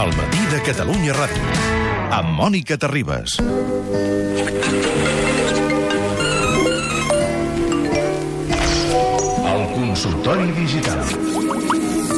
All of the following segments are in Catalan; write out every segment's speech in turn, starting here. El matí de Catalunya Ràdio. Amb Mònica Terribas. El consultori digital.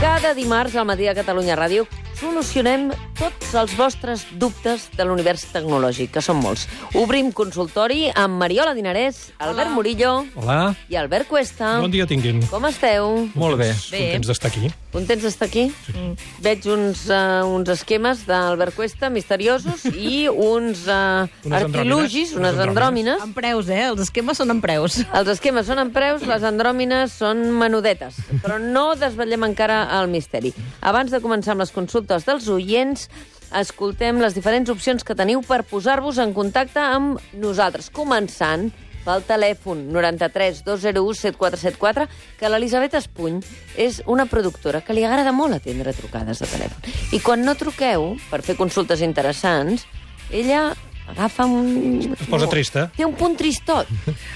Cada dimarts al matí a Catalunya Ràdio solucionem tots els vostres dubtes de l'univers tecnològic, que són molts. Obrim consultori amb Mariola Dinarès, Albert Murillo Hola, i Albert Cuesta. bon dia tinguin. Com esteu? Molt bé, Bé. contents d'estar aquí. Contents d'estar aquí? Mm. Veig uns, uh, uns esquemes d'Albert Cuesta misteriosos i uns uh, Unes artilugis, unes andròmines. Unes andròmines. andròmines. En preus, eh? Els esquemes són en preus. Els esquemes són en preus, les andròmines són menudetes. Però no desvetllem encara el misteri. Abans de començar amb les consultes dels oients, escoltem les diferents opcions que teniu per posar-vos en contacte amb nosaltres. Començant pel telèfon 93 201 7474, que l'Elisabet Espuny és una productora que li agrada molt atendre trucades de telèfon. I quan no truqueu, per fer consultes interessants, ella agafa un... Es posa trista. Té un punt tristot.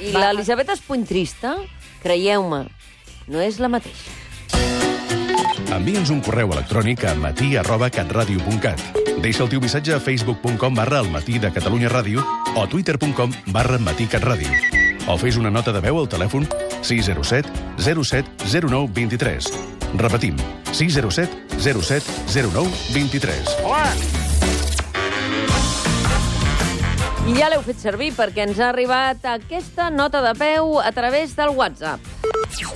I l'Elisabet Espuny trista, creieu-me, no és la mateixa. Envia'ns un correu electrònic a matí arroba catradio.cat. Deixa el teu missatge a facebook.com barra el matí de Catalunya Ràdio o twitter.com barra matí catradio. O fes una nota de veu al telèfon 607 07 09 23. Repetim, 607 07 09 23. I ja l'heu fet servir perquè ens ha arribat aquesta nota de peu a través del WhatsApp.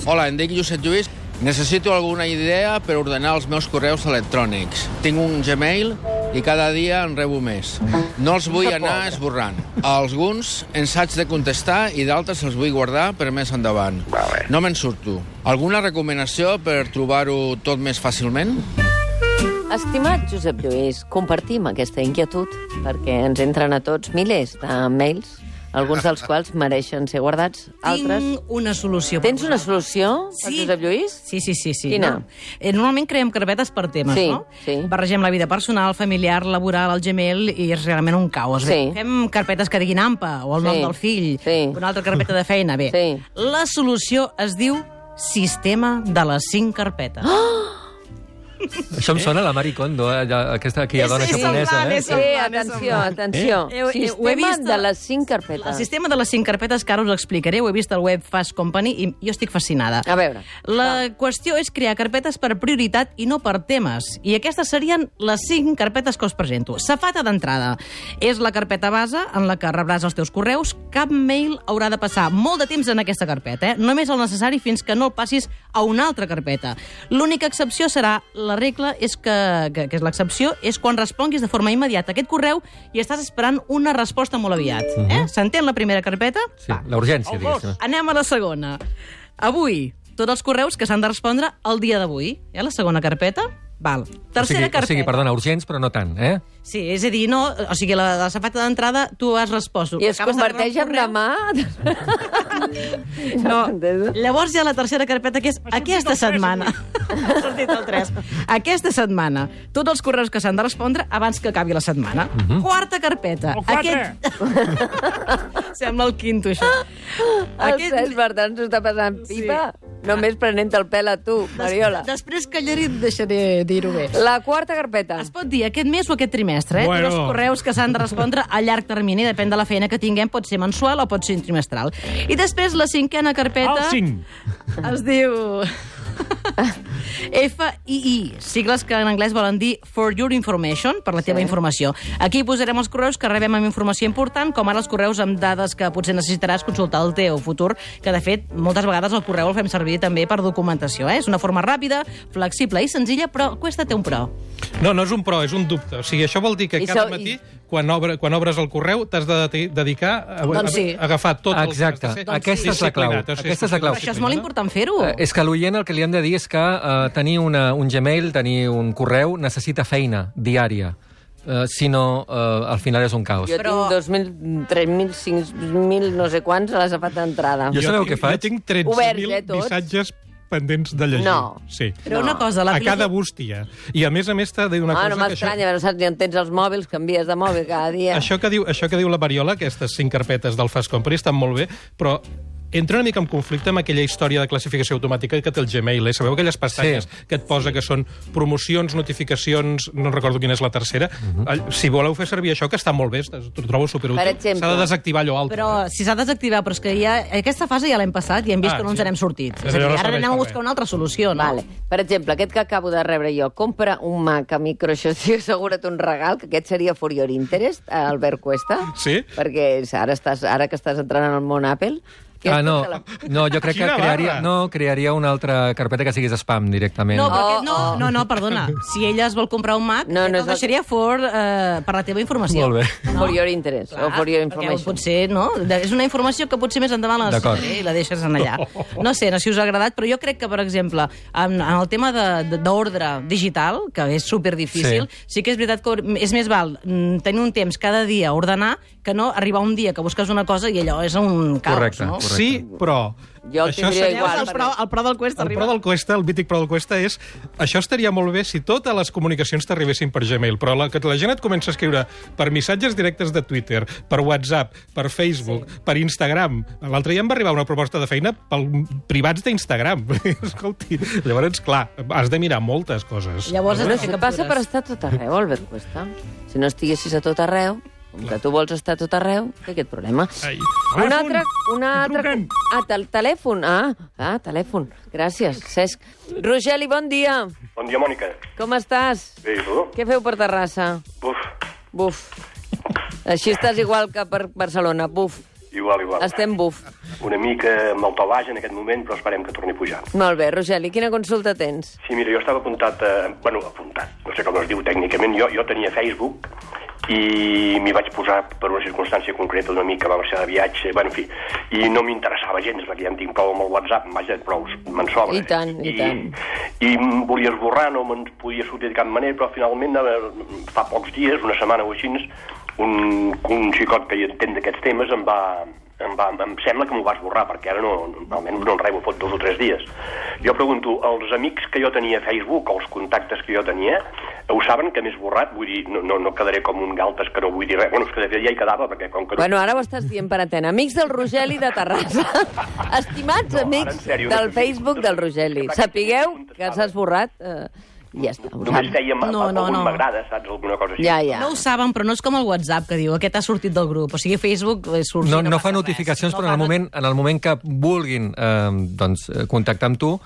Hola, em dic Josep Lluís. Necessito alguna idea per ordenar els meus correus electrònics. Tinc un Gmail i cada dia en rebo més. No els vull anar esborrant. A alguns ens haig de contestar i d'altres els vull guardar per més endavant. No me'n surto. Alguna recomanació per trobar-ho tot més fàcilment? Estimat Josep Lluís, compartim aquesta inquietud perquè ens entren a tots milers de mails, alguns dels quals mereixen ser guardats, altres... Tinc una solució. per Tens una vosaltres. solució, per Sí. Josep Lluís? Sí, sí, sí. sí. Quina? No? Eh, Normalment creem carpetes per temes, Sí, no? sí. Barregem la vida personal, familiar, laboral, el Gmail, i és realment un caos. Bé, Sí. Fem carpetes que diguin AMPA, o Sí, el nom del fill, sí. una altra carpeta de feina. Bé, Sí. la solució es diu sistema de les cinc carpetes. Ah! Oh, Això em sona a la Marie Kondo, eh? allà, aquesta aquella dona sí, japonesa. semblant, Eh? és Sí, atenció, atenció. Eh? Eh, eh, ho he Sistema vist. de les cinc El carpetes. sistema de les cinc carpetes que ara us explicaré, ho he vist al web Fast Company i jo estic fascinada. A veure. La qüestió és crear carpetes per prioritat i no per temes. I aquestes serien les cinc carpetes que us presento. Safata d'entrada. És la carpeta base en la que rebràs els teus correus. Cap mail haurà de passar molt de temps en aquesta carpeta. Eh? Només el necessari fins que no el passis a una altra carpeta. L'única excepció serà, la regla és que, que, que és l'excepció, és quan responguis de forma immediata aquest correu i estàs esperant una resposta molt aviat. eh? S'entén la primera carpeta? Sí, la urgència, diguéssim. Anem a la segona. Avui, tots els correus que s'han de respondre el dia d'avui. Eh? La segona carpeta? Val. o sigui, Tercera o sigui, carpeta. perdona, urgents, però no tant, eh? Sí, és a dir, no... O sigui, la, la safata d'entrada tu has respost. I es Acabes de rebre converteix el en correu. demà... No. Llavors hi ha la tercera carpeta, que és aquesta setmana. Ha sortit el 3. Aquesta setmana. Tots els correus que s'han de respondre abans que acabi la setmana. Mhm. Quarta carpeta. Aquest... Sembla el quinto, això. El Aquest... Cesc Bertran s'ho està passant pipa. Sí. Només prenent el pèl a tu, Mariola. Després callaré i et deixaré dir-ho bé. La quarta carpeta. Es pot dir aquest mes o aquest trimestre, eh? Bueno. Bueno. Els correus que s'han de respondre a llarg termini, depèn de la feina que tinguem, pot ser mensual o pot ser trimestral. I després la cinquena carpeta... El cinc. Es diu... FII, sigles que en anglès volen dir For Your Information, per la teva informació. Aquí posarem els correus que rebem amb informació important, com ara els correus amb dades que potser necessitaràs consultar el teu futur, que de fet moltes vegades el correu el fem servir també per documentació. Eh? És una forma ràpida, flexible i senzilla, però cuesta té un pro. No, no és un pro, és un dubte. O sigui, això vol dir que I cada so- matí, i- quan, obre, quan obres el correu, t'has de deti- dedicar a, a, Doncs sí. a agafar tot el Exacte. has de ser Aquesta és la clau. disciplinat, o sigui, Aquesta és la clau. Però això és molt important fer-ho. Ah, Eh, és que a l'oient el que li hem de dir és que eh, tenir una, un Gmail, tenir un correu, necessita feina diària. Eh, si no, eh, al final és un caos. Jo Però- tinc 2.000, 3.000, 5.000, no sé quants, a la safata d'entrada. Jo sabeu tinc- què faig? Jo tinc Oberts, 13.000 eh, tots? missatges pendents de llegir. No. Sí. Però No. una cosa... La a cada bústia. I a més a més t'ha de dir una Ah, no cosa... que això- m'estranya, no saps ni on tens els mòbils, canvies de mòbil cada dia. Això que, diu, això que diu la Mariola, aquestes cinc carpetes del Fast Company, estan molt bé, però entra una mica en conflicte amb aquella història de classificació automàtica que té el Gmail. Eh? Sabeu aquelles pestanyes Sí. sí. que et posa que són promocions, notificacions, no recordo quina és la tercera. Uh -huh. Si voleu fer servir això, que està molt bé, es- ho trobo Per superútil. exemple. S'ha de desactivar allò altre. Però si s'ha de desactivar, però és que ja, aquesta fase ja l'hem passat i hem vist Ah, que no ens sí. n'hem sortit. És És a dir, allò no ara serveix anem a per buscar res. una altra solució, no? Vale. Per exemple, aquest que acabo de rebre jo, compra un Mac a microxos i assegura't un regal, que aquest seria for your interest, eh, Albert Cuesta. Sí. Perquè ara, estàs, ara que estàs entrant en el món Apple... que Ah, no, tota la- no, jo crec que Quina crearia, barra! no, crearia una altra carpeta que siguis spam directament. No, perquè, Oh, no, no, no, perdona. Si ella es vol comprar un Mac, No, no, no no, és el- el deixaria for, eh, per la teva informació. Molt bé. For your interest, Ah, o for your Perquè information. potser, no? De- És una informació que potser més endavant la D'acord. necessitaré i la deixes en allà. No sé, no sé si us ha agradat, però jo crec que, per exemple, en, en el tema de- de- d'ordre digital, que és superdifícil, sí. sí que és veritat que hau- és més val mm, tenir un temps cada dia a ordenar que no arribar un dia que busques una cosa i allò és un caos, Correcte. no? Correcte. Sí, però... Jo el tindria seria- igual, Veus, El pro, el pro del Cuesta El arriba. pro del Cuesta, el mític pro del Cuesta és... Això estaria molt bé si totes les comunicacions t'arribessin per Gmail, però la, que la gent et comença a escriure per missatges directes de Twitter, per WhatsApp, per Facebook, sí. per Instagram. L'altre dia em va arribar una proposta de feina pel privats d'Instagram. Escolti, llavors, clar, has de mirar moltes coses. Llavors has Però de si fer et captures. passa per estar a tot arreu, Albert Cuesta. Si no estiguessis a tot arreu, com que tu vols estar a tot arreu, té aquest problema. Ai. Un Telèfon! altre... Un altre... Truquen! Ah, tel telèfon. Ah, ah, telèfon. Gràcies, Cesc. Rogeli, bon dia. Bon dia, Mònica. Com estàs? Bé, i tu? Què feu per Terrassa? Buf, Buf. Així estàs igual que per Barcelona. Buf. igual, igual. Estem buf. Una mica amb el to baix en aquest moment, però esperem que torni a pujar. Molt bé, Rogeli, quina consulta tens? Sí, mira, jo estava apuntat a... Bueno, apuntat, no sé com es diu tècnicament. Jo, jo tenia Facebook i m'hi vaig posar per una circumstància concreta d'una mica, va marxar de viatge, bueno, en fi, i no m'interessava gens, perquè ja en tinc prou amb el WhatsApp, vaja, prou, me'n sobra. eh? I tant, i tant. I em volia esborrar, no me'n podia sortir de cap manera, però finalment, eh, fa pocs dies, una setmana o així, un, un xicot que hi entén d'aquests temes em va, em va... Em sembla que m'ho va esborrar, perquè ara no, almenys no en rebo fot dos o tres dies. Jo pregunto, els amics que jo tenia a Facebook, o els contactes que jo tenia, ho saben que m'he esborrat? Vull dir, no, no, no quedaré com un galtes que no vull dir res. Bueno, és que de fet ja hi quedava, perquè com que... no- Bueno, ara ho estàs dient per antena. Amics del Rogeli de Terrassa. Estimats No, ara, amics en sèrio, no del t'ho Facebook dic. del Rogeli, sapigueu que s'ha esborrat eh, i ja està. ho Només saps. feia... No, No, no, no, no. M'agrada, saps? Alguna cosa així. Ja, ja. No ho saben, però no és com el WhatsApp que diu aquest ha sortit del grup. O sigui, Facebook eh, surt... no, i no fa passa notificacions, res. però en el, fa moment, en el moment que vulguin eh, doncs, eh, contactar amb tu,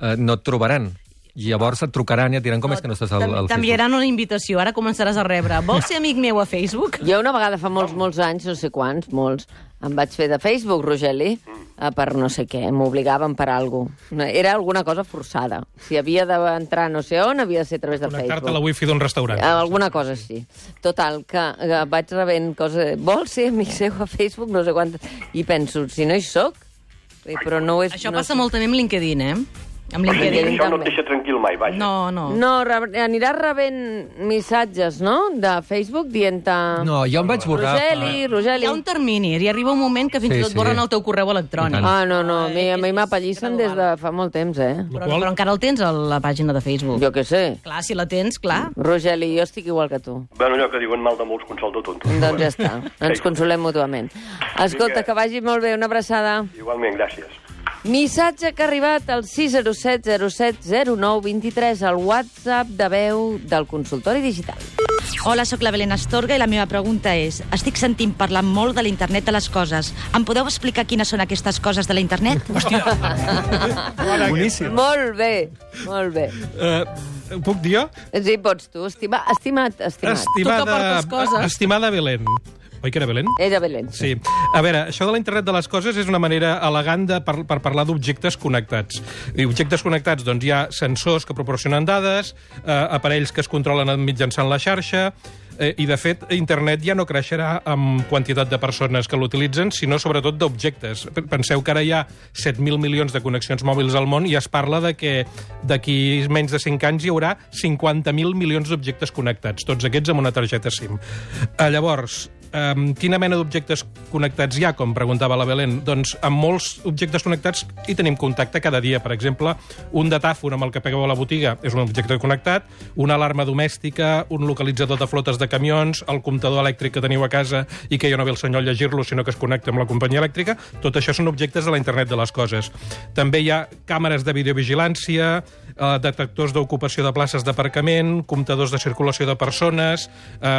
eh, no et trobaran. I llavors et trucaran i et diran com és que no estàs al, al Facebook. T'enviaran una invitació, ara començaràs a rebre. Vols ser amic meu a Facebook? Jo una vegada fa molts, molts anys, no sé quants, molts, em vaig fer de Facebook, Rogeli, eh, per no sé què, m'obligaven per alguna cosa. Era alguna cosa forçada. Si havia d'entrar no sé on, havia de ser a través de Connectar-te a la Facebook. wifi d'un restaurant. Eh, Ah, Alguna cosa així. Total, que, que vaig rebent coses... Vols ser amic seu a Facebook? No sé quantes... I penso, si no hi soc... Eh, Però no ho és... Això no passa sé. molt també amb LinkedIn, eh? Amb O sigui, LinkedIn. això no també. et deixa tranquil mai, vaja. No, no. No, re aniràs rebent missatges, no?, de Facebook dient-te... No, jo em vaig borrar... Rogeli, eh. Rogeli... Hi ha un termini, hi arriba un moment que fins i Sí, tot sí. borren el teu correu electrònic. Ah, no, no, a mi, a mi és m'apallissen des de gradual. fa molt temps, eh? Però, però encara el tens, a la pàgina de Facebook. Jo què sé. Clar, si la tens, clar. Rogeli, jo estic igual que tu. Bueno, allò que diuen mal de molts consol de tontos. Doncs ja està, ens Sí. consolem mútuament. Escolta, Vinga. que vagi molt bé, una abraçada. Igualment, gràcies. Missatge que ha arribat al 607 07 09 23 al WhatsApp de veu del consultori digital. Hola, sóc la Belén Astorga i la meva pregunta és estic sentint parlar molt de l'internet de les coses. Em podeu explicar quines són aquestes coses de l'internet? Boníssim. Molt bé, molt bé. Eh, ho puc dir jo? Sí, pots tu, estima, estimat, estimat. Esti... Tu que Estimada, portes coses. estimada Belén. Oi que era Belén? Era Belén. Sí. A veure, això de la internet de les coses és una manera elegant de per, per parlar d'objectes connectats. I objectes connectats, doncs, hi ha sensors que proporcionen dades, eh, aparells que es controlen mitjançant la xarxa, eh, i, de fet, internet ja no creixerà amb quantitat de persones que l'utilitzen, sinó sobretot d'objectes. P- Penseu que ara hi ha 7.000 milions de connexions mòbils al món i es parla de que d'aquí menys de 5 anys hi haurà 50.000 milions d'objectes connectats, tots aquests amb una targeta SIM. Eh, llavors, Um, quina mena d'objectes connectats hi ha, com preguntava la Belén? Doncs amb molts objectes connectats hi tenim contacte cada dia. Per exemple, un datàfon amb el que pegueu a la botiga és un objecte connectat, una alarma domèstica, un localitzador de flotes de camions, el comptador elèctric que teniu a casa i que ja no ve el senyor a llegir-lo, sinó que es connecta amb la companyia elèctrica, tot això són objectes de la internet de les coses. També hi ha càmeres de videovigilància, eh, detectors d'ocupació de places d'aparcament, comptadors de circulació de persones, eh,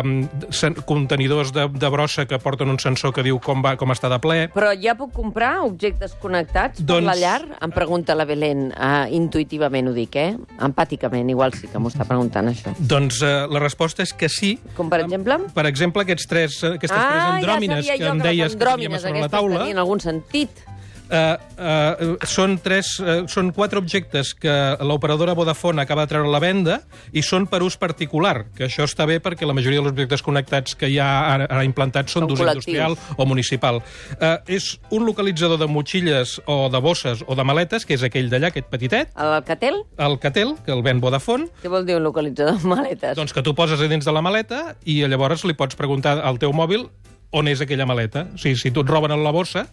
sen- contenidors de, de brossa que porten un sensor que diu com, va, com està de ple... Però ja puc comprar objectes connectats doncs... per Doncs- la llar? Em pregunta la Belén, uh, intuïtivament ho dic, eh? Empàticament, igual sí que m'ho està preguntant, això. Doncs eh, la resposta és que sí. Com, per exemple? Per exemple, aquests tres, eh, aquestes tres ah, ja andròmines sabia que jo em que deies les que teníem a andròmines sobre la aquestes taula... tenien algun sentit. Eh, eh, són, tres, eh, són quatre objectes que l'operadora Vodafone acaba de treure a la venda i són per ús particular, que això està bé perquè la majoria dels objectes connectats que hi ha ara, ara implantats són Són d'ús col·lectius. industrial o municipal. Eh, és un localitzador de motxilles o de bosses o de maletes, que és aquell d'allà, aquest petitet, L'Alcatel? el Catel, que el ven Vodafone, Què vol dir un localitzador de maletes? doncs que tu poses a dins de la maleta i llavors li pots preguntar al teu mòbil on és aquella maleta. O sigui, si tu et roben en la bossa,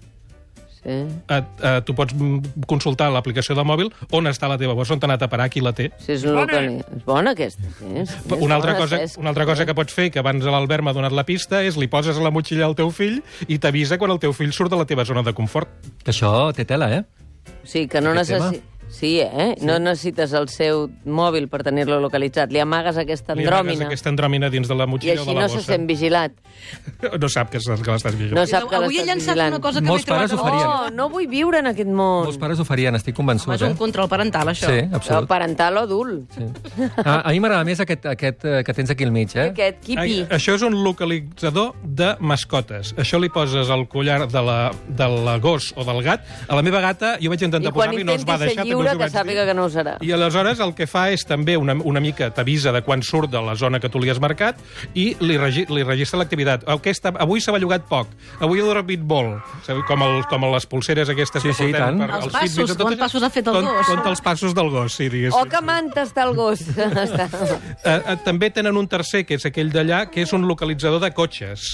Sí. eh, eh, tu pots mm, consultar a l'aplicació del mòbil on està la teva bossa, on t'ha anat a parar, qui la té. Sí, és, un local... és bona aquesta, sí. sí és Una altra, bona, cosa, Cesc. eh? una altra cosa que pots fer, que abans l'Albert m'ha donat la pista, és li poses a la motxilla al teu fill i t'avisa quan el teu fill surt de la teva zona de confort. Que això té tela, eh? Sí, que no Aquest necessi... Sí, eh? Sí. No necessites el seu mòbil per tenir-lo localitzat. Li amagues aquesta Li amagues andròmina Aquesta andròmina dins de la i motxilla o així de la no se bossa. sent vigilat. No sap que, que l'estàs vigilant. No sap que Avui he l'estàs llançat vigilant. una cosa que Molts no he trobat pares ho abans. farien. No, no vull viure en aquest món. Molts pares ho farien, estic convençut. Home, és un eh? control parental, això. Sí, O absolut. parental o adult. Sí. Sí. A, a mi m'agrada més aquest, aquest eh, que tens aquí al mig, eh? Aquest quipi. Ai, Això és un localitzador de mascotes. Això li poses al collar de la, de la gos o del gat. A la meva gata jo vaig I intentar quan posar-li, no es intenti va ser deixar, lliure, també que us ho vaig sàpiga dir. que no ho serà. I aleshores el que fa és també una, una mica t'avisa de quan surt de la zona que tu li has marcat i li, regi, li registra l'activitat. Aquesta, avui s'ha bellugat poc, avui ha dormit molt, Sabeu, com, el, com les pulseres aquestes Sí, que sí, i portem. tant. Els als passos, Fitbits, quants tot això. passos ha fet el Tot- gos? Oh, Compta els passos del gos, sí, diguéssim. O que manta està el gos. Està- Eh, eh, també tenen un tercer, que és aquell d'allà, que és un localitzador de cotxes.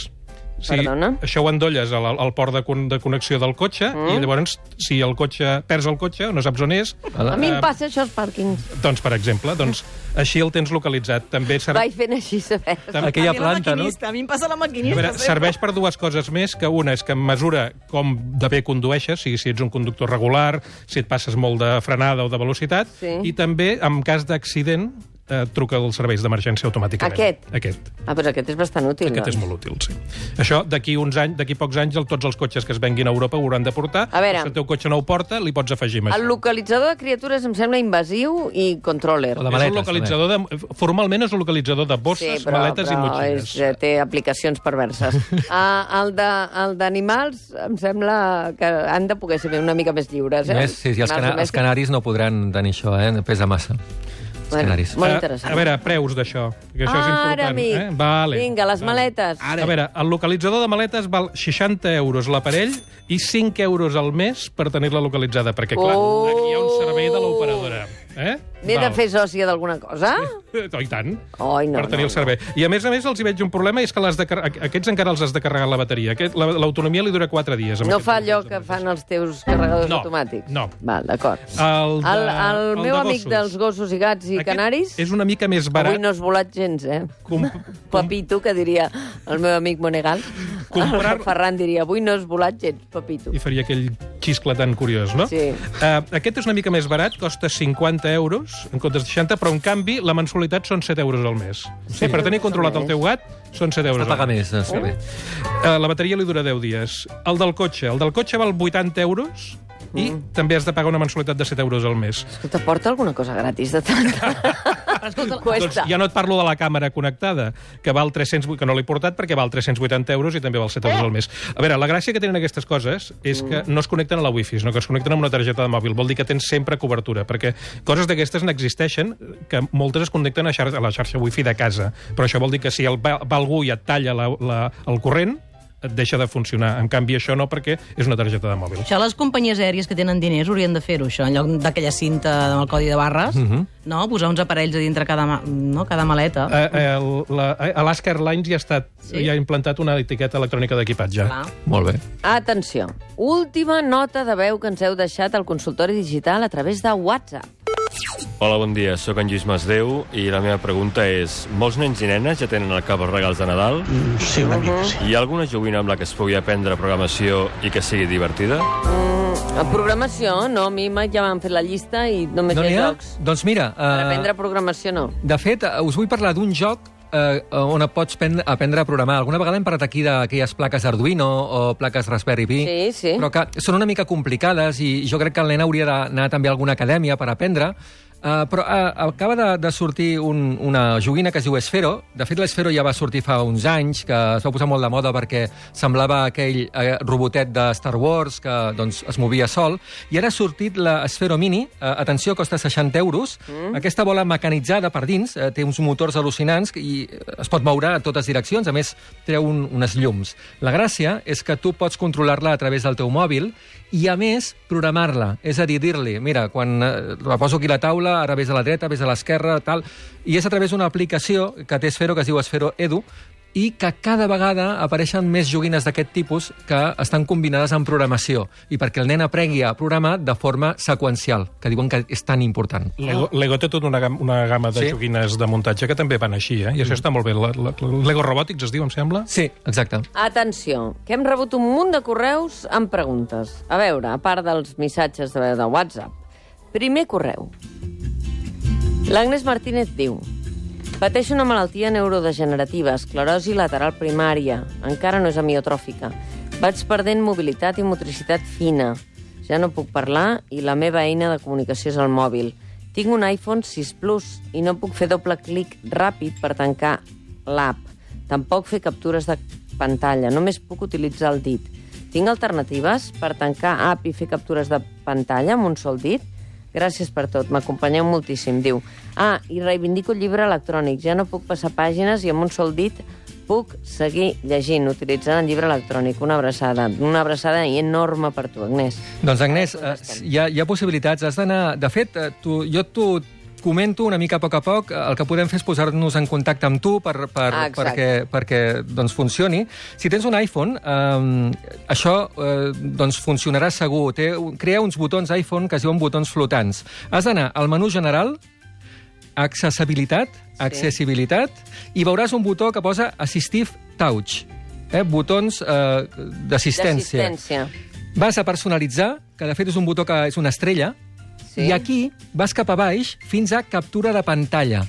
Sí, Perdona? Això ho endolles al, al port de, con de connexió del cotxe mm. i llavors, si el cotxe perds el cotxe o no saps on és, A mi em passa això als pàrquings. doncs, per exemple, doncs, així el tens localitzat. També serà... Vaig fent així, saber. Tam- Aquella A mi la planta, no? maquinista, A mi em passa la A maquinista. eh? veure, sempre. serveix per dues coses més, que una és que mesura com de bé condueixes, sigui si ets un conductor regular, si et passes molt de frenada o de velocitat, Sí. i també, en cas d'accident, eh, truca als serveis d'emergència automàticament. Aquest? Aquest. Ah, però aquest és bastant útil. Aquest és doncs. molt útil, sí. Això, d'aquí uns anys, d'aquí pocs anys, el- tots els cotxes que es venguin a Europa ho hauran de portar. A veure. Si el teu cotxe no ho porta, li pots afegir més. El localitzador de criatures em sembla invasiu i controller. O de és maletes, un localitzador de, formalment és un localitzador de bosses, maletes i motxilles. És, eh, té aplicacions perverses. ah, el de- el d'animals em sembla que han de poder ser una mica més lliures. Eh? Més, sí, sí, els, Animals cana els domèstics. canaris no podran tenir això, eh? Pesa massa. Els Bueno, canaris. Molt Eh, interessant. A veure, preus d'això, que això és important. Ara, amic. Eh? Vale. Vinga, les maletes. Ara. A veure, el localitzador de maletes val 60 euros l'aparell i 5 euros al mes per tenir-la localitzada, perquè, clar, Oh. aquí hi ha un servei de l'operadora. Eh? N'he de Val. fer sòcia d'alguna cosa? Eh, I tant. Ai, no, per tenir no, el servei. I a més a més els hi veig un problema, és que les de, car- aquests encara els has de carregar la bateria. Aquest- la- L'autonomia li dura 4 dies. amb No aquest fa tipus allò de que maletes. fan els teus carregadors No, automàtics? no. Val, d'acord. El, de, El, el, de meu amic gossos. dels gossos i gats i Aquest canaris... És una mica més barat. Avui no has volat gens, eh? Com- Papito, que diria el meu amic Monegal. Comprar- El Ferran diria, avui no has volat gens, Papito. i faria aquell xiscle tan curiós, no? Sí. Uh, aquest és una mica més barat, costa 50 euros en comptes de 60, però en canvi la mensualitat són 7 euros al mes. Sí, sí per tenir controlat el teu gat són 7 euros. No paga al mes. més, està bé. Uh, la bateria li dura 10 dies. El del cotxe, el del cotxe val 80 euros i també has de pagar una mensualitat de 7 euros al mes. Que t'aporta alguna cosa gratis de tant. escolta, Doncs Cuesta. ja no et parlo de la càmera connectada, que val 308, que no l'he portat perquè val 380 euros i també val 7 euros al mes. A veure, la gràcia que tenen aquestes coses és que no es connecten a la wifi, sinó que es connecten amb una targeta de mòbil. Vol dir que tens sempre cobertura, perquè coses d'aquestes n'existeixen, que moltes es connecten a, xar a la xarxa wifi de casa. Però això vol dir que si el, va, va algú i et talla la, la, el corrent, et deixa de funcionar. En canvi, això no, perquè és una targeta de mòbil. Això les companyies aèries que tenen diners haurien de fer-ho, això, en lloc d'aquella cinta amb el codi de barres, Mhm. no? Posar uns aparells a dintre cada, ma- no? cada maleta. Eh, eh, la- eh, Alaska Airlines ja ha, estat, Sí. sí? ja ha implantat una etiqueta electrònica d'equipatge. Clar. Molt bé. Atenció. Última nota de veu que ens heu deixat al consultori digital a través de WhatsApp. Hola, bon dia, sóc en Lluís Masdeu i la meva pregunta és molts nens i nenes ja tenen al cap els regals de Nadal? Mm, Sí, una mica, sí. Hi ha alguna joguina amb la que es pugui aprendre programació i que sigui divertida? Mm, A programació, no, a mi mai ja m'han fet la llista i només No hi n'hi ha ha? jocs. Doncs mira... eh, Per aprendre programació, no. De fet, eh, us vull parlar d'un joc eh, on pots pen- aprendre a programar. Alguna vegada hem parlat aquí d'aquelles plaques Arduino o plaques Raspberry Pi, Sí, sí. però que són una mica complicades i jo crec que el nen hauria d'anar també a alguna acadèmia per aprendre. Uh, però uh, acaba de, de sortir un, una joguina que es diu Esfero. De fet, l'Esfero ja va sortir fa uns anys, que es va posar molt de moda perquè semblava aquell eh, robotet de Star Wars que doncs, es movia sol. I ara ha sortit l'Esfero Mini. Eh, atenció, costa 60 euros. Mm. Aquesta bola mecanitzada per dins eh, té uns motors al·lucinants i es pot moure a totes direccions. A més, treu un, unes llums. La gràcia és que tu pots controlar-la a través del teu mòbil i, a més, programar-la. És a dir, dir-li, mira, quan eh, la poso aquí a la taula, ara vés a la dreta, vés a l'esquerra, tal... I és a través d'una aplicació que té Esfero, que es diu Esfero Edu, i que cada vegada apareixen més joguines d'aquest tipus que estan combinades amb programació i perquè el nen aprengui a programar de forma seqüencial, que diuen que és tan important. Lego, Lego té tota una, gam, una gamma de Sí. sí. joguines de muntatge que també van així, eh? I això està molt bé. La, la, Lego Robotics es diu, em sembla? Sí, exacte. Atenció, que hem rebut un munt de correus amb preguntes. A veure, a part dels missatges de veu de WhatsApp. Primer correu. L'Agnès Martínez diu... Pateixo una malaltia neurodegenerativa, esclerosi lateral primària. Encara no és amiotròfica. Vaig perdent mobilitat i motricitat fina. Ja no puc parlar i la meva eina de comunicació és el mòbil. Tinc un iPhone 6 Plus i no puc fer doble clic ràpid per tancar l'app. Tampoc fer captures de pantalla, només puc utilitzar el dit. Tinc alternatives per tancar app i fer captures de pantalla amb un sol dit? Gràcies per tot, m'acompanyeu moltíssim, diu. Ah, i reivindico el llibre electrònic. Ja no puc passar pàgines i amb un sol dit puc seguir llegint utilitzant el llibre electrònic. Una abraçada, una abraçada enorme per tu, Agnès. Doncs, Agnès, Ara eh, contestem. hi ha, hi ha possibilitats. Has d'anar... De fet, eh, tu, jo t'ho comento una mica a poc a poc. Eh, El que podem fer és posar-nos en contacte amb tu per, per, Ah, exacte. perquè, perquè doncs, funcioni. Si tens un iPhone, eh, això eh, doncs, funcionarà segur. Té, crea uns botons iPhone que es diuen botons flotants. Has d'anar al menú general, accessibilitat, accessibilitat, i veuràs un botó que posa Assistive Touch. Eh, botons eh, d'assistència. D'assistència. Vas a personalitzar, que de fet és un botó que és una estrella, Sí. sí. i aquí vas cap a baix fins a captura de pantalla.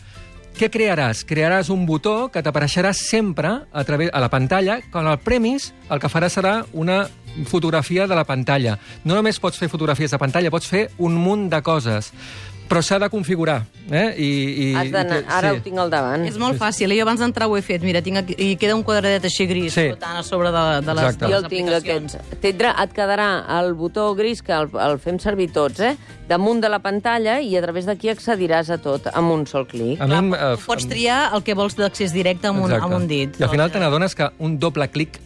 Què crearàs? Crearàs un botó que t'apareixerà sempre a, través, a la pantalla, quan el premis el que farà serà una fotografia de la pantalla. No només pots fer fotografies de pantalla, pots fer un munt de coses. Però s'ha de configurar. Eh? I, i, Has d'anar... i- Ara ho tinc al Mm. davant. És molt fàcil, i abans d'entrar ho he fet. Mira, tinc aquí, i queda un quadradet així gris Sí. flotant a sobre de, de les, Exacte. de Jo les el tinc, aplicacions. aquest. Tindrà, et quedarà el botó gris, que el, el fem servir tots, eh? damunt de la pantalla, i a través d'aquí accediràs a tot amb un sol clic. Ah, A mi em, eh, Tu pots triar el que vols d'accés directe amb un, Exacte. amb un dit. doncs. I al final te n'adones que un doble clic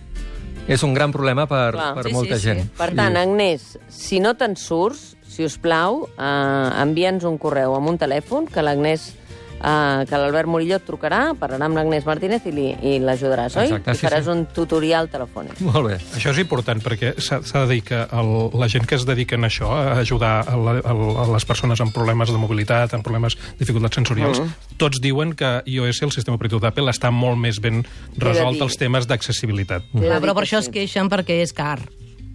és un gran problema per, Clar. per Sí, molta sí, sí. gent. Per tant, Agnès, si no te'n surts, si us plau, eh, envia'ns un correu amb un telèfon que l'Agnès eh, que l'Albert Murillo et trucarà, parlarà amb l'Agnès Martínez i li- i l'ajudaràs, oi? Exacte, I sí, faràs sí. un tutorial telefònic. Molt bé. Això és important, perquè s'ha s'ha de dir que el, la gent que es dediquen a això, a ajudar a, la, a, a les persones amb problemes de mobilitat, amb problemes dificultats sensorials, tots diuen que iOS, el sistema operatiu d'Apple, està molt més ben resolt dir. els temes d'accessibilitat. Clar, Ah, però per això es queixen perquè és car.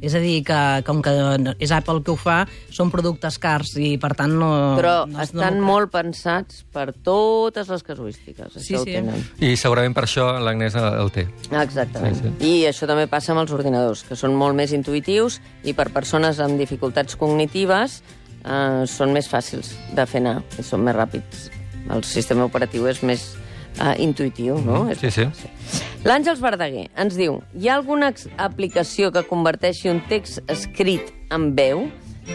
És a dir, que com que no- és Apple que ho fa, són productes cars i per tant no... Però no, no- estan molt pensats per totes les casuístiques. Això Sí, ho sí. tenen. I segurament per això l'Agnès el té. Exactament. Sí, Sí, sí. I això també passa amb els ordinadors, que són molt més intuïtius i per persones amb dificultats cognitives eh, són més fàcils de fer anar i són més ràpids. El sistema operatiu és més eh, intuïtiu, no? És Mm, Sí, sí. L'Àngels Verdaguer ens diu Hi ha alguna ex- aplicació que converteixi un text escrit en veu?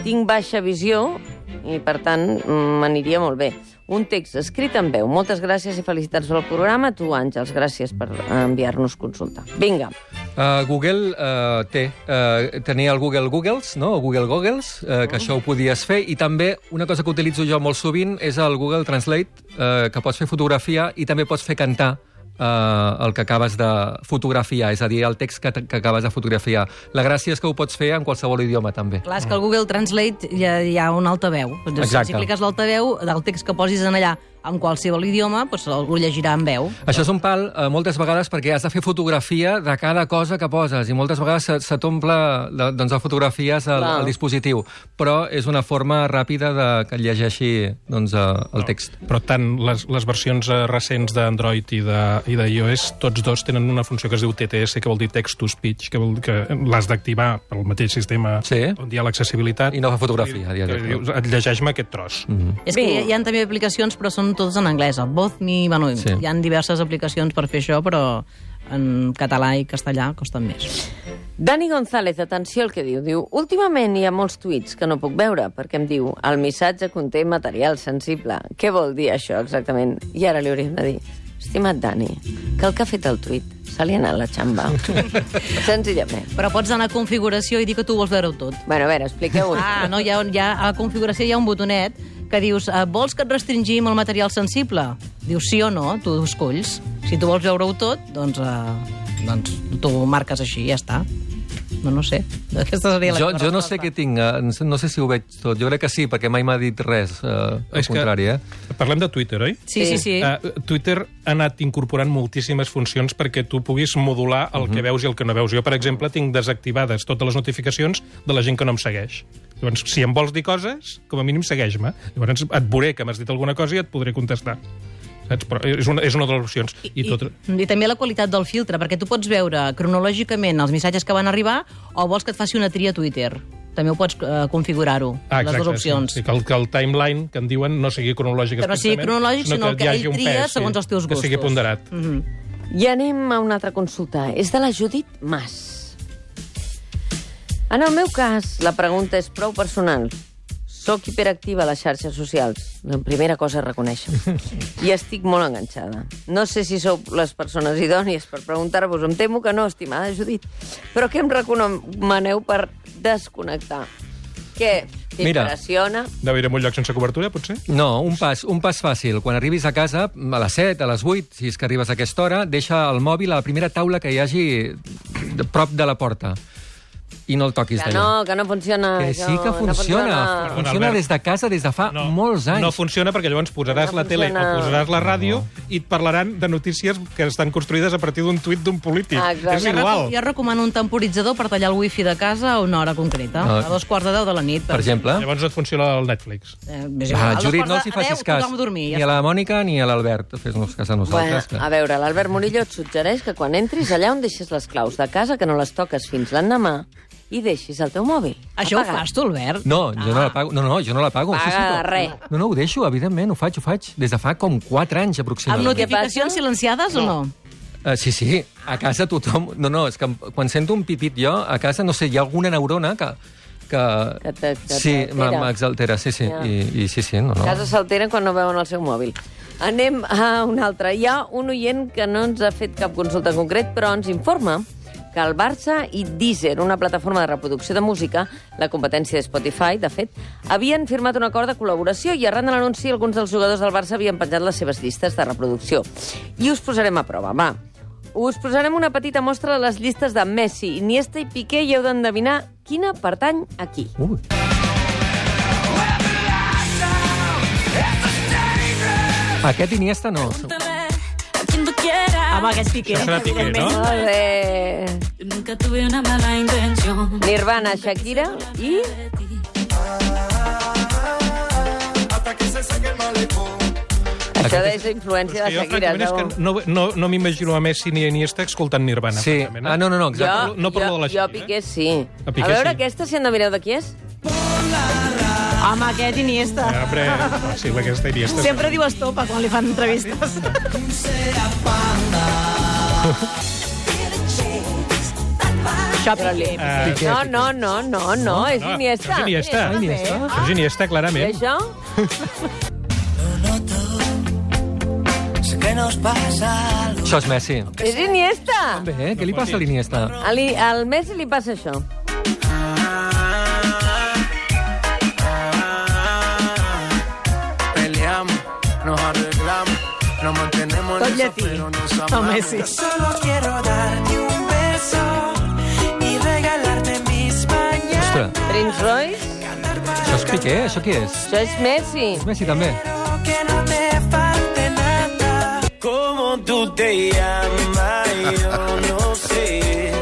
Tinc baixa visió i, per tant, mm, m'aniria molt bé. Un text escrit en veu. Moltes gràcies i felicitats pel programa. A Tu, Àngels, gràcies per eh, enviar-nos consulta. Vinga, Uh, Google uh, té, uh, tenia el Google Googles, no? o Google Googles, uh, que això ho podies fer, i també una cosa que utilitzo jo molt sovint és el Google Translate, uh, que pots fer fotografia i també pots fer cantar eh, el que acabes de fotografiar, és a dir, el text que, que acabes de fotografiar. La gràcia és que ho pots fer en qualsevol idioma, també. Clar, és que al Google Translate hi ha, hi ha un altaveu. Doncs Exacte. Si cliques l'altaveu, del text que posis en allà en qualsevol idioma, doncs algú llegirà en veu. Això és un pal eh, moltes vegades perquè has de fer fotografia de cada cosa que poses i moltes vegades se, se t'omple de, doncs, de fotografies al, Clar. al dispositiu, però és una forma ràpida de que llegeixi doncs, eh, el text. Però tant les, les versions eh, recents d'Android i de- i d'iOS, tots dos tenen una funció que es diu TTS, que vol dir text to speech, que, vol, que l'has d'activar pel mateix sistema Sí. on hi ha l'accessibilitat. I no fa fotografia, Que diria. dius, Llegeix-me aquest tros. Mm -hmm. És que hi ha, hi ha també aplicacions, però són totes en anglès. El Both Me, bueno, Sí. sí. hi han diverses aplicacions per fer això, però en català i castellà costen més. Dani González, atenció al que diu. Diu, últimament hi ha molts tuits que no puc veure, perquè em diu, el missatge conté material sensible. Què vol dir això exactament? I ara li hauríem de dir, estimat Dani, que el que ha fet el tuit se li ha anat la xamba. Senzillament. Però pots anar a configuració i dir que tu vols veure-ho tot. Bueno, a veure, expliqueu-ho. Ah, no, hi ha, hi ha, a la configuració hi ha un botonet que dius, eh, vols que et restringim el material sensible? Dius sí o no, tu esculls. Si tu vols veure-ho tot, doncs, eh, doncs tu ho marques així i ja està. No, no sé. Aquesta seria la Jo, meva jo no sé resposta. què tinc, eh, no sé- no sé si ho veig tot. Jo crec que sí, perquè mai m'ha dit res, eh, al contrari, eh? Que... Parlem de Twitter, oi? Sí, sí, sí. Uh, Twitter ha anat incorporant moltíssimes funcions perquè tu puguis modular el que veus i el que no veus. Jo, per exemple, tinc desactivades totes les notificacions de la gent que no em segueix. Llavors, si em vols dir coses, com a mínim segueix-me. Llavors et veuré que m'has dit alguna cosa i et podré contestar. Saps? Però és una, és una de les opcions. I, I, tot... I, I també la qualitat del filtre, perquè tu pots veure cronològicament els missatges que van arribar o vols que et faci una tria a Twitter. També ho pots eh, configurar-ho, Ah, les dues opcions. Ah, Sí, sí, que, el, que el timeline, que en diuen, no sigui cronològic. Que no sigui explícitament, cronològic, sinó el que hi ell hagi un tria pes, sí, segons els teus Que sigui gustos. Mhm. ponderat. I anem a una altra consulta. És de la Judit Mas. En el meu cas, la pregunta és prou personal. Soc hiperactiva a les xarxes socials. La primera cosa a reconèixer. I estic molt enganxada. No sé si sou les persones idònies per preguntar-vos. Em temo que no, estimada Judit. Però què em recomaneu per desconnectar? Què Mira. t'impressiona? Deu ir a un lloc sense cobertura, potser? No, un pas, un pas fàcil. Quan arribis a casa, a les 7, a les 8, si és que arribes a aquesta hora, deixa el mòbil a la primera taula que hi hagi de- prop de la porta. I no el toquis Que d'allà. no, que no funciona. que sí això, que No funciona. funciona. funciona Albert. des de casa des de fa no, molts anys. No funciona perquè llavors posaràs No la tele o funciona. posaràs la ràdio i et parlaran de notícies que estan construïdes a partir d'un tuit d'un polític. Ah, exacte. és Jo igual. reco- Jo recomano un temporitzador per tallar el wifi de casa a una hora concreta, Ah. a dos quarts de deu de la nit. Per exemple... Llavors no et funciona el Netflix. Eh, és igual, Va, a dos Judit, quarts no de els hi deu, facis cas Tothom a dormir, ni ja a la Mònica ni a l'Albert. Fes-nos cas a Bueno, nosaltres. que- a veure, l'Albert Murillo et suggereix que quan entris allà on deixes les claus de casa, que no les toques fins l'endemà, i deixis el teu mòbil. Això ho apagat. fas tu, Albert? No, jo no la pago. No, no, jo no la pago. Ah. Paga però- res. No, no, ho deixo, evidentment, ho faig, ho faig. Des de fa com 4 anys, Amb aproximadament. notificacions silenciades o no? Uh, sí, sí, a casa tothom... No, no, és que quan sento un pipit jo, a casa, no sé, hi ha alguna neurona que... Que, Que te- que sí, t'altera. m'ha- m'exaltera, sí, sí, Ja. i, i sí, sí, no, no. Casa s'alteren quan no veuen el seu mòbil. Anem a un altre. Hi ha un oient que no ens ha fet cap consulta en concret, però ens informa que el Barça i Deezer, una plataforma de reproducció de música, la competència de Spotify, de fet, havien firmat un acord de col·laboració i arran de l'anunci alguns dels jugadors del Barça havien penjat les seves llistes de reproducció. I us posarem a prova, va. Us posarem una petita mostra de les llistes de Messi, Iniesta i Piqué i heu d'endevinar quina pertany a qui. Ui, aquest Iniesta no. Home, aquest piqué. Això serà Piqué, no? Molt bé. Nunca tuve una mala intención. Nirvana, Shakira i... Això deu ser influència de Jo, Shakira. francament, és segur. que no, no, no m'imagino a Messi ni a Iniesta escoltant Nirvana. Sí, francament, eh? ah, no, no, no, exacte. parlo- no parlo jo, de la Jo Shakira, eh? Piqué sí. A A, Piqué veure sí. aquesta, si endevineu de qui és? Home, aquest Iniesta. Ja, Però, fàcil, aquesta Iniesta. Sempre diu estopa quan li fan entrevistes. Shopping. Eh, No, no, no, no, no, és no, Iniesta. és Iniesta. Ah, Iniesta. Això és Iniesta, I clarament. això? que nos pasa algo. Això és Messi. És Iniesta! Bé, eh? què li passa a l'Iniesta? Al, al Messi li passa això. Peleamos, nos arreglamos, nos mantenemos Tot en eso, llatí. pero nos El amamos. Messi. Solo quiero darte un beso y regalarte mis mañanas. Ostres, Prince Royce, això és Piqué? Això qui és? això és Messi. És Messi, també. Que no te falte nada. Como tú te llamas, yo no sé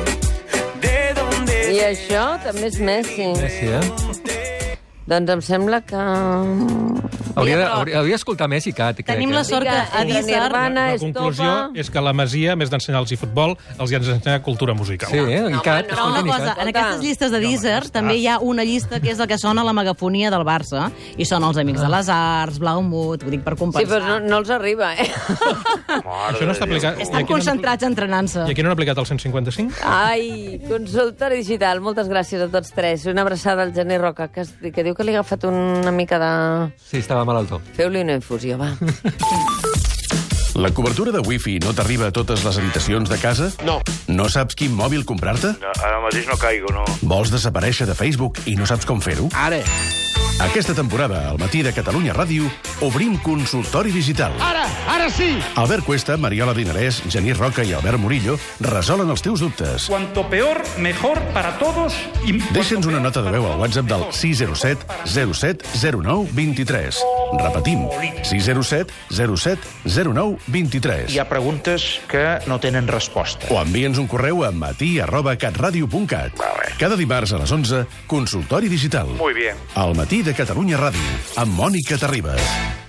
de dónde I això també és Messi. Messi, eh? Doncs em sembla que... Hauria, de, hauria, hauria d'escoltar Messi, Cat, crec. Tenim la eh? sort Digue, que a entre Dissar... Nirvana, La conclusió Estopa... és que la Masia, més d'ensenyar-los i futbol, els hi ha d'ensenyar cultura musical. Sí, eh? I Cat, Però una escolta'm, i cosa, Cat. en aquestes llistes de Deezer també hi ha una llista que és el que sona la megafonia del Barça, i són els Amics de les Arts, Blaumut, ho dic per compensar. Sí, però no, no els arriba, eh? Això no està aplicat... I Estan aquí no- concentrats entrenant-se. I aquí no han aplicat el 155? Ai, consultori digital, moltes gràcies a tots tres. Una abraçada al Gener Roca, que, es, que diu que li ha agafat una mica de... Sí, estava malaltó. Feu-li una infusió, va. La cobertura de wifi no t'arriba a totes les habitacions de casa? No. No saps quin mòbil comprar-te? Ara mateix no caigo, no. Vols desaparèixer de Facebook i no saps com fer-ho? Ara. Aquesta temporada, al matí de Catalunya Ràdio, obrim consultori digital. Ara, ara sí! Albert Cuesta, Mariola Dinarès, Genís Roca i Albert Murillo resolen els teus dubtes. Cuanto peor, mejor para todos y Deixa'ns una nota de veu al WhatsApp del 607 07 09 23. Repetim, 607 07 09 23. hi ha preguntes que no tenen resposta. O envia'ns un correu a matí arroba catradio.cat. Cada dimarts a les 11, consultori digital. Muy bien. Al matí de Catalunya Ràdio, amb Mònica Terribas.